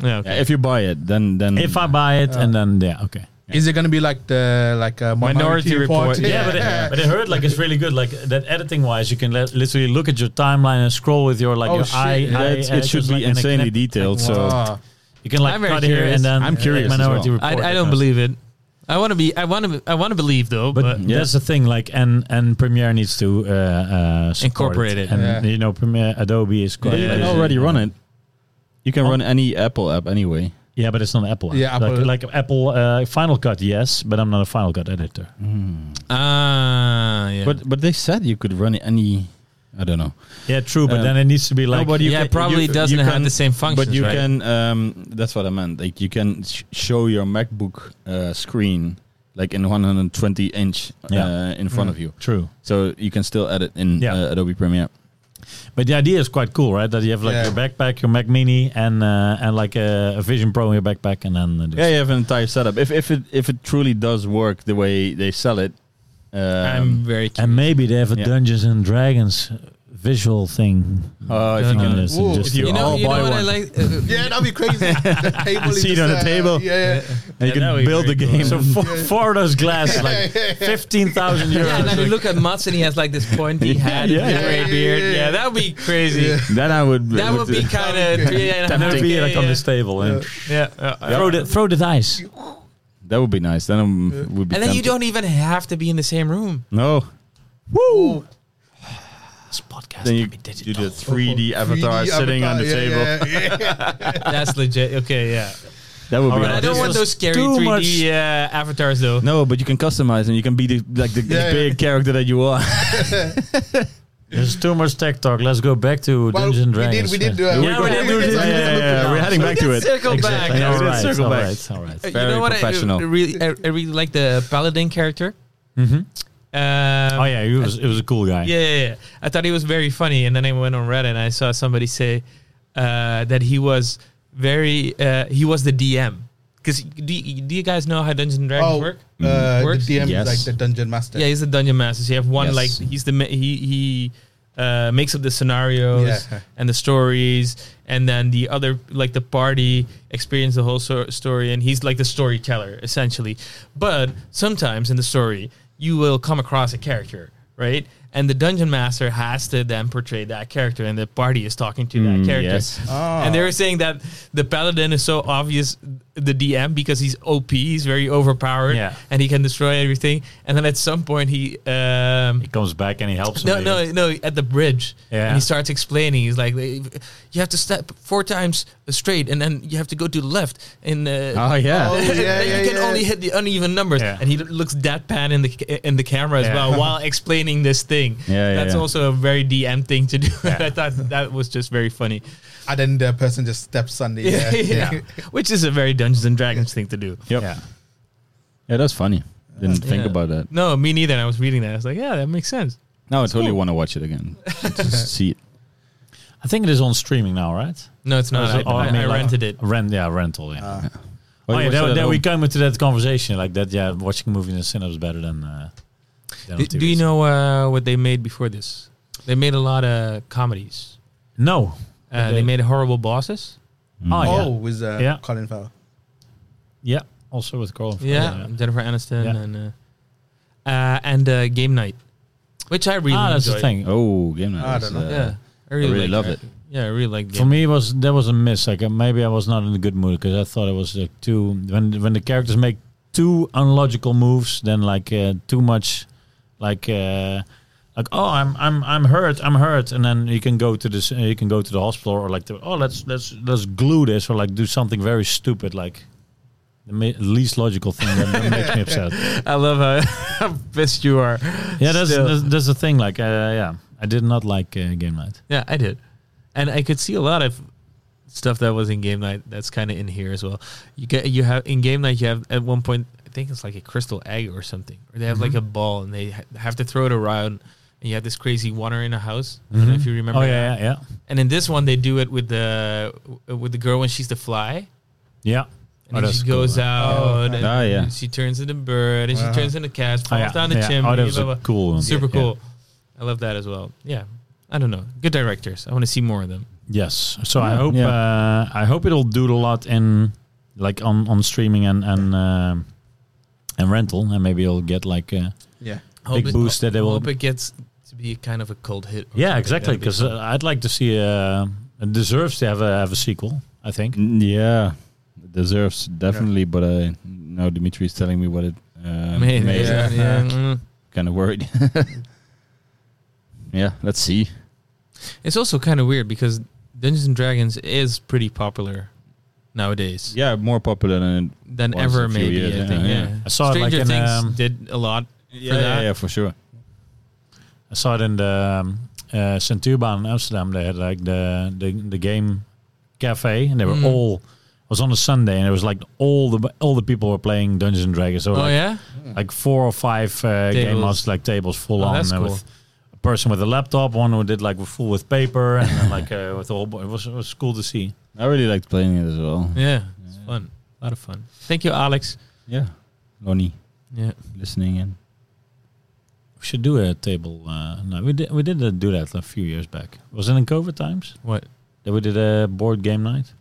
Yeah, yeah, okay. if you buy it, then then If I buy it and then yeah, okay. Is it going to be like the like a minority, Minority report? Report, Yeah, but, it, but I heard like it's really good. Like that editing wise, you can le- literally look at your timeline and scroll with your like Oh, your shit. eye. Yeah, eye it's- it edges, should like, be and a insanely connect- detailed. So Wow. You can like I'm very cut here curious. and then uh, I'm like, curious as Minority well. report. I, I don't because- believe it. I want to be. I want to. I want to believe though. But, But, Yeah. that's the thing. Like and and Premiere needs to uh, uh, support Incorporate it. And Yeah. you know Premiere Adobe is quite. But you Yeah, can yeah, already run it. You can run any Apple app anyway. Yeah, but it's not Apple. Yeah, Like- Apple- Like, Apple uh, Final Cut, yes, but I'm not a Final Cut editor. ah, yeah. But but they said you could run any. I don't know. Yeah, true, but Um, then it needs to be like. but you can- yeah, it probably you- doesn't you have can- the same functions. but you right? can. Um, that's what I meant. Like you can sh- show your MacBook uh, screen like in 120 inch uh, Yeah. in front of you, True, so you can still edit in Yeah. uh, Adobe Premiere. but the idea is quite cool, right? That you have like Yeah. your backpack, your Mac Mini, and uh, and like a, a Vision Pro in your backpack, and then uh, Yeah, you have an entire setup. If if it if it truly does work the way they sell it, um, I'm very. Curious. and maybe they have a Yeah. Dungeons and Dragons visual thing. uh, if No, you no, can, no. It's Ooh. just If you a- You know, all you buy know what I one. like. Uh, Yeah, that'd be crazy. the table See it just, on the table. Yeah, you that would can be build the game. very cool. So four, four of those glasses, like fifteen thousand euros. Yeah, and then you look at Mats and he has like this pointy hat, yeah, and yeah. gray Yeah, yeah, beard. yeah, yeah. Yeah, that would be crazy. Then I would. That would be kind of three and a and half. then be like yeah, on this table and yeah. yeah. yeah. throw the throw the dice. That would be nice. Then I would be. And then you tempted. don't even have to be in the same room. No. Woo! This podcast Then you can do be the digital. 3D avatar sitting on the table. That's legit. Okay, yeah. That would be. Alright, But I nice. don't this want was those scary too much- 3D uh, avatars though. No, but you can customize and you can be the like the, Yeah, yeah. the big character that you are. There's too much tech talk. Let's go back to Well, Dungeons and we Dragons. did, we did do it. Yeah, we did do yeah, this. yeah, yeah, yeah. We're heading back to it. Circle Exactly. back. Yeah, we All did right, circle all back. right, all right. Uh, you Very know what? I- professional. I really, I I really like the paladin character. Mm-hmm. Um, Oh yeah, he was it was a cool guy. Yeah, yeah, yeah. I thought he was very funny, and then I went on Reddit and I saw somebody say uh, that he was very uh, he was the DM. Because do, you- do you guys know how Dungeons and Dragons Oh, work? uh, the Works? DM Mm. Yes. is like the dungeon master. Yeah, he's the dungeon master. So you have one Yes. like he's the ma- he he uh, makes up the scenarios Yeah. and the stories, and then the other like the party experience the whole so- story, and he's like the storyteller essentially. But sometimes in the story, you will come across a character, right? And the dungeon master has to then portray that character, and the party is talking to that character. yes. Ah. And they were saying that the paladin is so obvious, the DM, because he's OP, he's very overpowered, Yeah. and he can destroy everything. And then at some point, he um, He comes back and he helps. no, him. no, no, at the bridge, Yeah. and he starts explaining. He's like, you have to step four times straight, and then you have to go to the left, and uh, Oh yeah. Oh, yeah, then yeah, you can yeah. only hit the uneven numbers, Yeah. and he looks deadpan in the in the camera as Yeah. well while explaining this thing. Yeah, yeah, that's yeah. also a very DM thing to do. Yeah. I thought that was just very funny. And then the person just steps on the. uh, Yeah, Yeah, yeah. which is a very Dungeons and Dragons thing to do. Yep. Yeah. Yeah, that's funny. Didn't think Yeah. about that. No, me neither. And I was reading that. I was like, yeah, that makes sense. Now I totally want to watch it again. Just see it. I think it is on streaming now, right? No, it's not. Or is I, it- or I- mean, I like- rented it. Uh, Rent, yeah, rental. Yeah. Oh, you oh yeah, watched it that, at that we home? come into that conversation like that. Yeah, watching movies in the cinema is better than. Uh, than on Do, TV. do you know uh, what they made before this? They made a lot of comedies. No. Uh, Okay. They made Horrible Bosses. Oh, Mm. yeah. oh, with uh, Yeah. Colin Farrell. yeah. Also with Colin. Farrell, Yeah, Jennifer Aniston Yeah. and uh, uh, and uh, Game Night, which I really ah, that's the enjoyed. thing. Oh, game night. I was, don't know. uh, Yeah, I I really liked loved that. it. Yeah, I really liked For Game. me, it was that was a miss. Like uh, maybe I was not in a good mood because I thought it was like too when when the characters make too unlogical moves, then like uh, too much, like uh, like oh I'm I'm I'm hurt I'm hurt, and then you can go to this uh, you can go to the hospital or like the, oh let's let's let's glue this or like do something very stupid like the ma- least logical thing that, that makes me upset. I love how pissed you are. Yeah, that's Still. that's, that's the thing. Like uh, yeah, I did not like uh, game night. Yeah, I did, and I could see a lot of stuff that was in Game Night. That's kind of in here as well. You get you have in Game Night. You have at one point, I think it's like a crystal egg or something, or they have Mm-hmm. like a ball and they ha- have to throw it around. And you have this crazy water in a house. I don't know if you remember. Oh that. yeah, yeah, yeah. And in this one, they do it with the with the girl when she's the fly, yeah. and Oh, then that's she cool, goes yeah. out, and Ah, yeah. she turns into bird, and Uh-huh. she turns into cat, Oh, falls yeah. down the yeah. chimney. Oh, that was blah, a blah. cool one. Super Yeah. cool. I love that as well. Yeah, I don't know. Good directors. I want to see more of them. Yes. So I Yeah. hope Yeah. uh, I hope it'll do a lot in like on on streaming and and um and rental, and maybe you'll get like uh, Yeah. Big boost that they will- Hope it gets to be kind of a cult hit. or yeah, something. exactly. That'd be Because fun. uh, I'd like to see uh, it deserves to have a have a sequel. I think. Mm, Yeah, it deserves definitely. But uh, now Dimitri's telling me what it uh, Maybe, made. yeah, Yeah. yeah, mm. Kind of worried. yeah, let's see. It's also kind of weird because Dungeons and Dragons is pretty popular nowadays Yeah, more popular than than was ever. a few Maybe years, I yeah, think. Yeah, yeah. I saw it like Stranger in, Things um, did a lot. yeah, For yeah, that. yeah, for sure. I saw it in the um, uh, Centuurbaan in Amsterdam. They had like the the, the game cafe, and they were Mm. all. It was on a Sunday, and it was like all the all the people were playing Dungeons and Dragons. So Oh like, yeah, like four or five uh, game Tables. masters, like tables full Oh, on that's uh, cool. with a person with a laptop, one who did like full with paper, and then, like uh, with all. It was it was cool to see. I really liked playing it as well. yeah, it's fun. A lot of fun. Thank you, Alex. Yeah, Lonnie Yeah, listening in. We should do a table. Uh, no, we did we did uh, do that a few years back. Was it in COVID times what? that we did a board game night?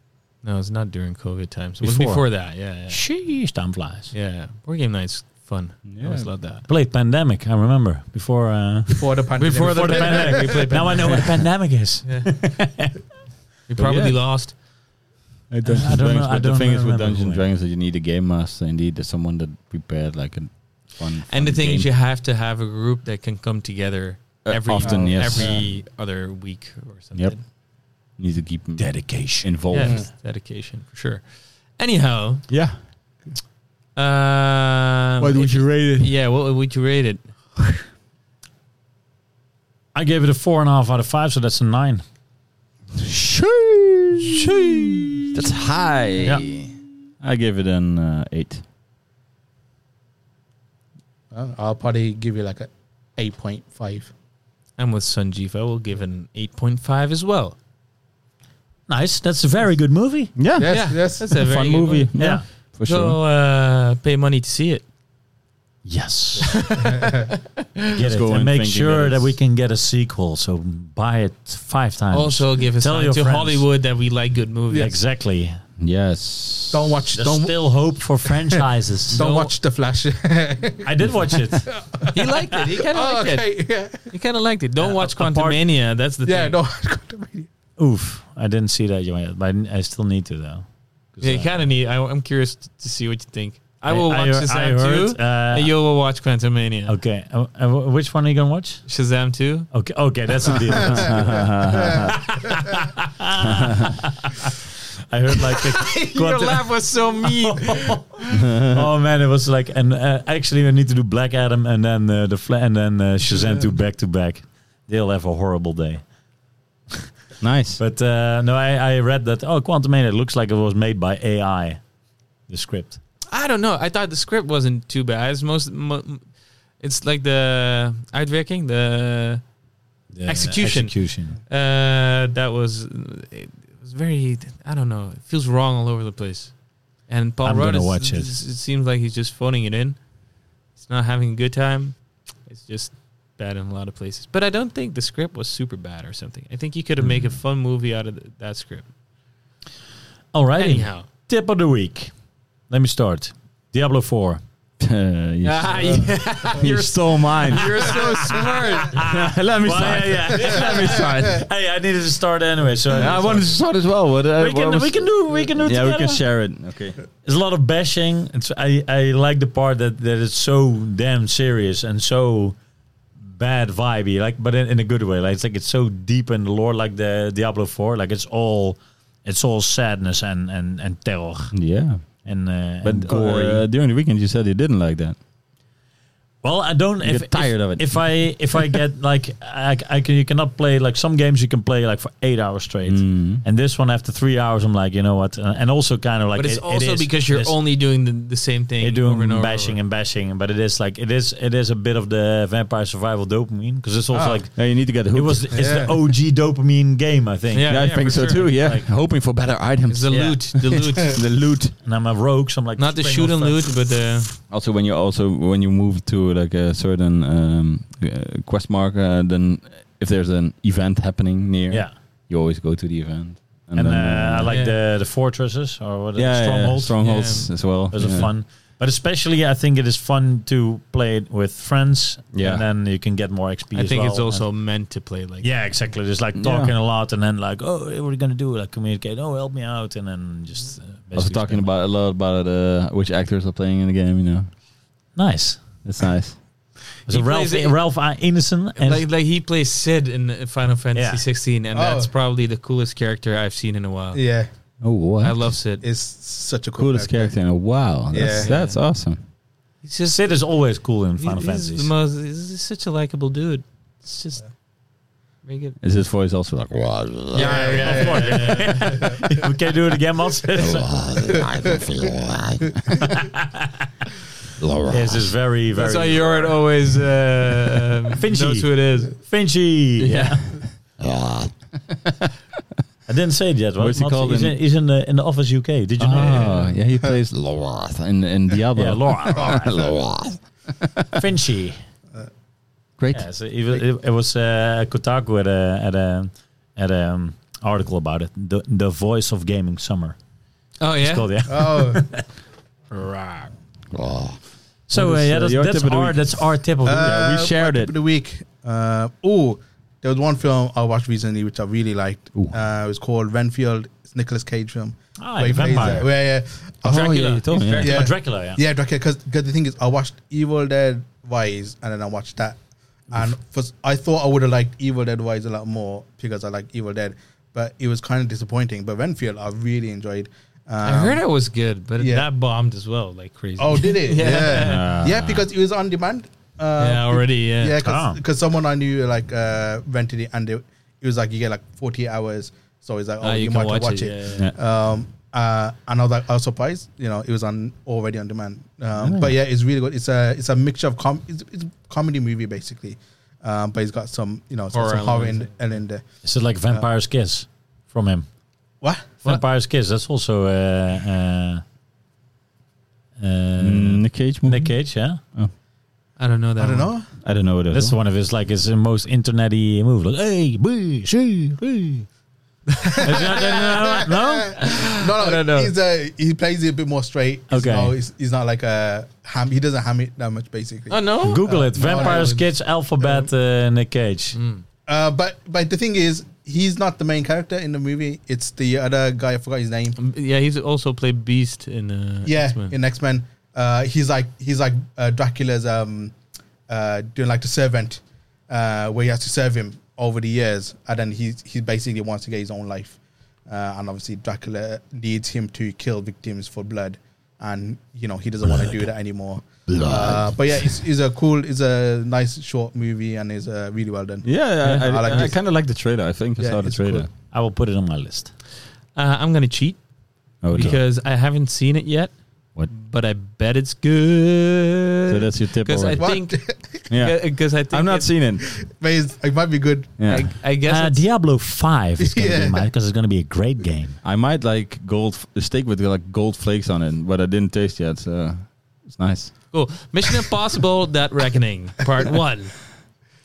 No, it's not during COVID times. It was Before. before that. Yeah, Sheesh, time flies. yeah, yeah. Board game nights fun. I Yeah. always love that. Played pandemic. I remember before uh, Before the pandemic. Before the- before the pandemic. We played now I know what a pandemic is. Yeah. we probably yeah. lost. I don't know- I but the don't thing is with remember Dungeons and when. Dragons that you need a game master. Indeed, there's someone that prepared like a fun. And the fun thing is, game. you have to have a group that can come together Uh, every often, yes. every other week or something. Yep. need to keep 'em Dedication. involved. Yeah, Yeah. it's dedication for sure. Anyhow, yeah. um, if- rate Yeah, what would you rate it? I gave it a four and a half out of five, so that's a nine. That's high. Yeah. I give it an uh, eight. Uh, I'll probably give you like a 8.5. I'm with Sanjeev. I will give it an 8.5 as well. Nice. That's a very good movie. Yeah, Yes, Yeah, yes. that's a a very fun good movie. one. Yeah, Yeah. for sure. Go uh, pay money to see it. Yes. get Let's it go and in make thinking sure that that we it's- can get a sequel. So buy it five times. Also, give a Tell sign your to friends. Hollywood that we like good movies. exactly. yes. Don't watch. There's Don't, still hope for franchises. don't no- watch The Flash. I did watch it. He liked it. He kind of oh, liked it. okay. Yeah. He kind of liked it. Don't watch apart- Quantumania. That's the Yeah, thing. no. Oof, I didn't see that yet, but I still need to though. 'Cause, Yeah, you uh, kind of need. I, I'm curious t- to see what you think. I will watch I Shazam heard, 2, and you will watch Quantum Mania. Uh, okay, uh, uh, wh- which one are you gonna watch? Shazam 2. Okay, okay, that's a deal. I heard like a Your laugh was so mean. oh man, it was like, and uh, actually, we need to do Black Adam and then uh, the fla- and then uh, Shazam two back to back. They'll have a horrible day. Nice. But uh, no, I, I read that. Oh, Quantum Mania looks like it was made by AI. The script. I don't know. I thought the script wasn't too bad. It's most. Mo- it's like the uitwerking, the The Execution. Execution. uh, that was. It was very. I don't know. It feels wrong all over the place. And Paul I'm Rudd gonna is, watch it. it seems like he's just phoning it in. He's not having a good time. It's just bad in a lot of places. But I don't think the Mm-hmm. script was super bad or something. I think you could have made a fun movie out of th- that script. Alrighty. Anyhow. Tip of the week. Let me start. Diablo 4. you, Ah, yeah. you stole mine. You're so smart. Let me Well, start. yeah, yeah. Let me start. hey, I needed to start anyway, so I wanted to start as well. But, uh, we what can, was- we can do we can do it yeah, we together. can share it. Okay. There's a lot of bashing. It's, I I like the part that that it's so damn serious and so bad vibey, like but in, in a good way. Like it's like it's so deep in the lore, like the Diablo Four. Like it's all it's all sadness and and and terror Yeah. and uh, and But gory. uh, during the weekend, you said you didn't like that. Well, I don't. You if, get tired if, of it. If I if I get like I, I can, you cannot play like some games you can play like for eight hours straight, Mm. and this one after three hours I'm like you know what, uh, and also kind of like but it's it- it also is- because you're it's- only doing the, the same thing you're doing over and over. bashing and bashing, but it is like it is it is a bit of the Vampire Survival dopamine because it's also Ah. like Yeah, you need to get hooked. it was it's Yeah. the OG dopamine game I think. Yeah. yeah, I think so for too. sure. Yeah, Like- hoping for better It's items. the Yeah. loot, the loot, the loot. and I'm a rogue, so I'm like not the spring shoot off and that. loot, but uh, the Also, when you also when you move to like a certain um, uh, quest marker, uh, then if there's an event happening near, Yeah, you always go to the event. and, then, uh, I like Yeah. the the fortresses or what yeah, yeah, yeah, strongholds. strongholds as well. Those yeah. are fun. But especially, I think it is fun to play it with friends. Yeah. And then you can get more XP. I as think well. it's also meant to play like And- yeah, exactly. Just like talking a lot and then like, oh, what are you gonna do? Like communicate. Oh, help me out, and then just. Uh, Also basically talking spend- about a lot about uh, which actors are playing in the game. You know, nice. it's nice. So He Ralph, plays it- Ralph uh, Innocent, and like like he plays Sid in uh, Final Fantasy Yeah. 16, and Oh. that's probably the coolest character I've seen in a while. Yeah, Oh, what? I love Sid. it's such a cool coolest character in a while. That's, Yeah. that's awesome. He's just Sid is always cool in Final he's Fantasy. The most, he's just such a likable dude. It's just very good. Is his voice also like? "Wow, Yeah, yeah, of course. we can do it again, Mats. Yes, it's very, very. That's why Jorrit always uh, Finchy. knows who it is. Finchy. I didn't say it yet. What? What's he Mats, called He's in- in, he's in the in the office UK. Did you know? Oh, yeah, he plays Lorath in, in Diablo. Yeah, Laura Lorath. Finchy. Great. Yeah, so it, was- it, it was uh, Kotaku had a had a had a um, article about it. The the voice of gaming summer. Oh yeah, It's called yeah. Oh, Oh. So What uh, is, yeah, uh, that's, your that's tip of the our week? that's our tip of the week. Yeah, we Uh, shared my it. tip of the week. Uh, oh, there was one film I watched recently which I really liked. Ooh. Uh, it was called Renfield. It's Nicolas Cage film. Ah, Where he the plays, vampire. uh, where, yeah, I Oh, watched- yeah, you told me. Yeah. Yeah. Oh, Dracula. Yeah. yeah, Dracula. Because the thing is, I watched Evil Dead Wise, and then I watched that, and first I thought I would have liked Evil Dead Wise a lot more because I like Evil Dead, but it was kind of disappointing. But Renfield, I really enjoyed. Um, I heard it was good, but yeah. that bombed as well, like crazy. Oh, did it? Yeah. yeah. yeah, because it was on demand. Uh, yeah, already. Yeah, Yeah, Ah. because someone I knew like uh, rented it, and it, it was like you get like 40 hours, so it's like oh, Ah, you, you can might watch watch, watch it. it, yeah, Um, uh, and I was like, I was surprised, you know, it was on already on demand. Um, But yeah, it's really good. It's a it's a mixture of com it's, it's a comedy movie basically, um, but it's got some you know some Horror horror, some horror in, elements. in there. Is it like Vampire's Kiss from him? What? Vampire's Kiss. That's also uh, uh, uh, Mm, Nick Cage movie? Nick Cage. Yeah. I don't know that. I don't one. know. I don't know what it That's is. one of his like his most internety move. Like, hey, boo, shoo, hoo." Is that- no, no, no? No, no, don't know. He's uh he plays it a bit more straight. He's Okay. not- he's, he's not like a ham. He doesn't ham it that much basically. Oh no. Google it. no, no, Vampires, no. kids, alphabet, uh, Nick Cage. Mm. Uh, but but the thing is, he's not the main character in the movie. It's the other guy. I forgot his name. Um, Yeah, he's also played Beast in uh, Yeah, X-Men. in X Men, uh, he's like he's like uh, Dracula's um, uh, doing like the servant, uh, where he has to serve him over the years, and then he he basically wants to get his own life, uh, and obviously Dracula needs him to kill victims for blood, and you know he doesn't want to do that anymore. Uh, but yeah, it's, it's a cool, it's a nice short movie, and it's uh, really well done. yeah, I, I like I, this. kind of like the trailer. I think I Yeah, saw the it's trailer. cool. I will put it on my list. Uh, I'm gonna cheat Oh, no. because I haven't seen it yet. What? But I bet it's good. So that's your tip. because I already. What? think yeah. because I think I've not it- seeing it. But it's, it might be good. Yeah. I, I guess Uh, it's- Diablo 5 is going to Yeah. be mine because it's going to be a great game. I might like gold f- a steak with like gold flakes on it, but I didn't taste yet, so it's nice. Cool. Mission Impossible: That Reckoning, Part One.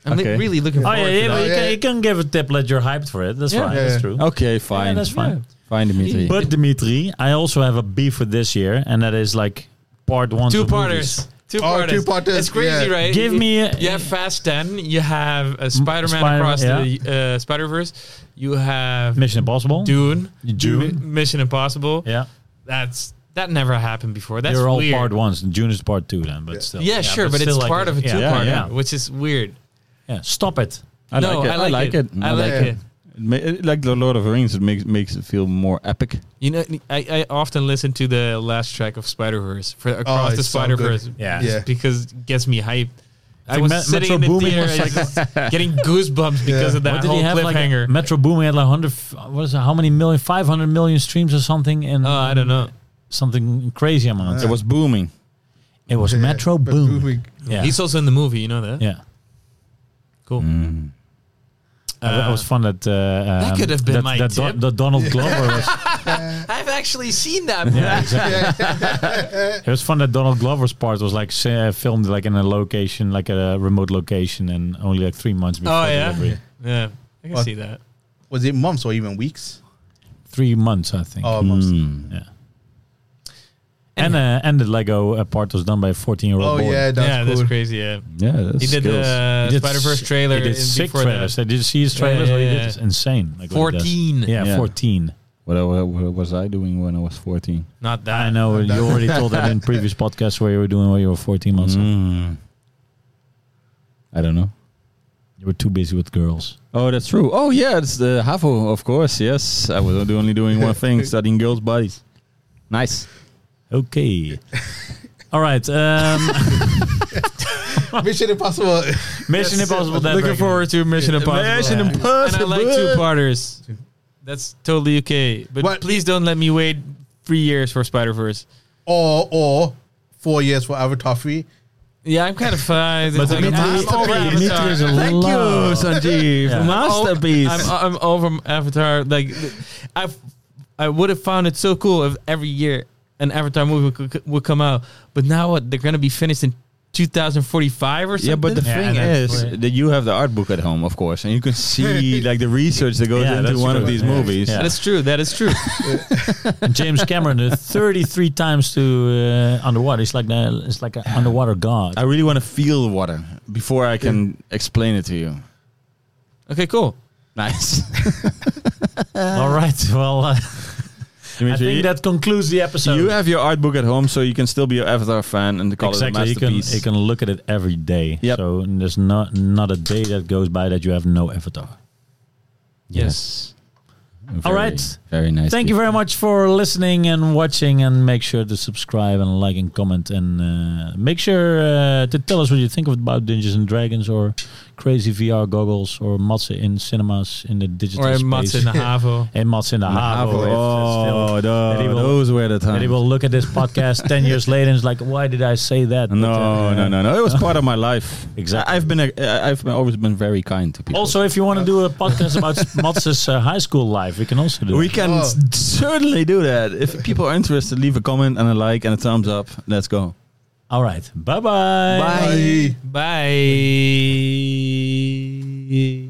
I'm li- Okay. really looking Oh, forward yeah, yeah, to but that. you, yeah. Can, you can give a tip, let you're hyped for it. That's Yeah. fine. Yeah, That's true. yeah. Okay, Yeah, fine. that's fine. Fine, Dimitri. But Dimitri, I also have a beef with this year, and that is like part one. Two to movies. parters. Two Oh, parters. two parters, It's crazy, yeah. right? Give You- me a- You have Fast Ten. You have uh, Spider Man Spider-Man, across yeah. the uh, Spider Verse. You have Mission Impossible. Dune. Dune. Mi- Mission Impossible. Yeah, That's that never happened before. That's they're all weird. part ones. and June is part two, then, but still. Yeah, sure, but, it's still like part of a yeah, two parter, Yeah, which is weird. yeah. Stop it. I no, like it. I like it. I like it. It ma- it- Like the Lord of the Rings, it makes makes it feel more epic. You know, I, I often listen to the last track of Spider Verse for Oh, across the it's so Spider Verse. good. Yeah. Yeah. because it gets me hyped. I Like was Me- sitting Metro in the Boomin theater was just getting goosebumps because of that What did whole he have? Like cliffhanger. Metro Boomin had like hundred. What is it? How many million? Five hundred million streams or something? And oh, I don't know. Something crazy amount. It was booming. it was Metro But Boom. moving- Yeah. He's also in the movie. You know that? yeah. Mm. Cool. I I was fun that uh, um, could have been that, my that, tip. that Donald Glover was Uh, I've actually seen that. movie. Yeah, exactly. it was fun that Donald Glover's part was like say, uh, filmed like in a location, like a remote location, and only like three months before Oh yeah. delivery. Yeah, I can What? see that. Was it months or even weeks? Three months, I think. Oh, months. Mm. Yeah. And uh, and the Lego uh, part was done by a Oh, fourteen-year-old boy. yeah, that's yeah, cool. that's crazy. Yeah, Yeah, that's he did skills. the He did Uh, Spider Verse s- trailer. He did and sick before trailers. That. Uh, Did you see his trailers? yeah, What he yeah. did? It's insane. Like what he does. Fourteen. Yeah, Yeah. fourteen. What, I- what, what was I doing when I was fourteen? not that. I know you already told that in previous podcasts where you were doing when you were fourteen months. Mm-hmm. Mm. old. I don't know. You were too busy with girls. Oh, that's true. Oh, yeah, it's the HAVO, of course. Yes, I was only doing one thing: studying girls' bodies. Nice. Okay. All right. Um, Mission Impossible. Mission Impossible. Dead Looking Reckoning. forward to Mission Impossible. Mission And I Impossible. like two parters. That's totally okay. But What? please don't let me wait three years for Spider Verse. or or four years for Avatar 3. Yeah, I'm kind of fine. But I'm, Dimitri- I'm over Dimitri Avatar. is a Thank you, love. Oh, Sanjeev. Yeah. Masterpiece. I'm, I'm over Avatar. Like, I I would have found it so cool if every year an Avatar movie would, would come out. But now what? They're gonna be finished in 2045 or something. yeah, but the Yeah, thing that's is right. that you have the art book at home, of course, and you can see like the research that goes Yeah, into that's one of true. these Yeah. movies. Yeah. that is true. That is true. And James Cameron, uh, 33 times to uh, underwater. It's like the, it's like an underwater god. I really want to feel the water before I can explain it to you. okay, cool. Nice. All right. Well, uh, I Dimitri, think that concludes the episode. you have your art book at home, so you can still be an Avatar fan and call exactly. it You a can masterpiece. you can look at it every day. Yep. So there's not not a day that goes by that you have no avatar. Yes. All right. Very nice. Thank you very much for listening and watching, and make sure to subscribe and like and comment, and uh, make sure uh, to tell us what you think about Dungeons and Dragons or crazy VR goggles or Matze in cinemas in the digital Or a space. Mats in the Havo. and Mats in the Ah, Havo. Oh, And he will- those were the And he times. will look at this podcast 10 years later and is like, why did I say that? But, No, uh, no, no, no. It was part of my life. Exactly. I- I've been, a, I- I've been- always been very kind to people. Also, if you want to do a podcast about Mats's uh, high school life, we can also do we it. can Oh. s- certainly do that. If people are interested, leave a comment and a like and a thumbs up. Let's go. All right. Bye. Bye-bye. Bye.